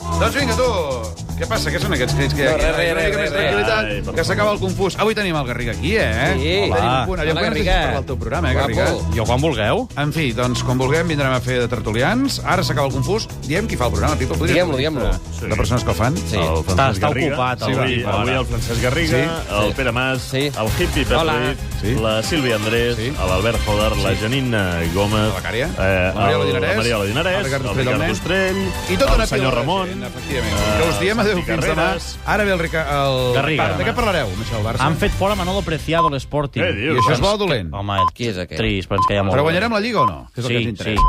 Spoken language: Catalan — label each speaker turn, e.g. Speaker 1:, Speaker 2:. Speaker 1: Doncs vinga, tu. Què passa? Què són aquests crits que hi ha
Speaker 2: No,
Speaker 1: aquí?
Speaker 2: res, res,
Speaker 1: Una mica
Speaker 2: res,
Speaker 1: més
Speaker 2: res.
Speaker 1: tranquil·litat,
Speaker 3: Ai, per
Speaker 1: que s'acaba el confús. Avui tenim el Garriga aquí, eh?
Speaker 2: Sí.
Speaker 1: Tenim
Speaker 2: Hola.
Speaker 1: un punt. Allò
Speaker 2: Hola,
Speaker 1: que
Speaker 2: Garriga.
Speaker 1: parlar del teu programa, eh,
Speaker 2: Guapo.
Speaker 1: Garriga?
Speaker 3: Jo quan vulgueu.
Speaker 1: En fi, doncs, quan vulguem, vindrem a fer de tertulians. Ara s'acaba el confús. Diem qui fa el programa, Pipo. podries
Speaker 2: Diguem-lo,
Speaker 1: dir? Ah,
Speaker 2: diguem-lo.
Speaker 1: De persones que el fan.
Speaker 2: Sí.
Speaker 3: El Francesc
Speaker 4: Està- està
Speaker 3: Garriga.
Speaker 4: ocupat, el
Speaker 3: avui,
Speaker 4: Pipo,
Speaker 3: avui
Speaker 4: ara.
Speaker 3: el Francesc Garriga,
Speaker 1: Sí,
Speaker 3: el
Speaker 2: sí.
Speaker 3: Pere Mas,
Speaker 2: Sí.
Speaker 3: el hippie
Speaker 2: Hola.
Speaker 3: Petrit,
Speaker 1: Sí.
Speaker 3: la Sílvia Andrés,
Speaker 1: Sí.
Speaker 3: l'Albert Joder, la Janina Gómez,
Speaker 1: La becària.
Speaker 3: eh,
Speaker 1: La Mariola
Speaker 3: el-
Speaker 1: Dinarès.
Speaker 3: la Mariola Dinarès,
Speaker 1: El Ricard
Speaker 3: el
Speaker 1: Ostrell,
Speaker 3: Ricard
Speaker 1: home.
Speaker 3: Ostrell,
Speaker 1: I tota una
Speaker 3: el senyor
Speaker 1: pila de
Speaker 3: Ramon,
Speaker 1: gent, efectivament.
Speaker 3: eh,
Speaker 1: que us diem adéu
Speaker 3: Santi
Speaker 1: fins demà.
Speaker 3: Carreras.
Speaker 1: Ara ve el, Rica, el...
Speaker 4: Garriga.
Speaker 1: Part. De què parlareu, amb això, el Barça?
Speaker 4: Han fet fora Manolo Preciado l'Sporting.
Speaker 3: Què dius?
Speaker 1: I això és bo o dolent?
Speaker 4: Home,
Speaker 2: Qui és aquest?
Speaker 4: trist, però ens queia molt.
Speaker 1: Però
Speaker 4: bé.
Speaker 1: guanyarem la Lliga o no? Que és el
Speaker 4: Sí,
Speaker 1: que ens
Speaker 4: sí.
Speaker 1: interessa.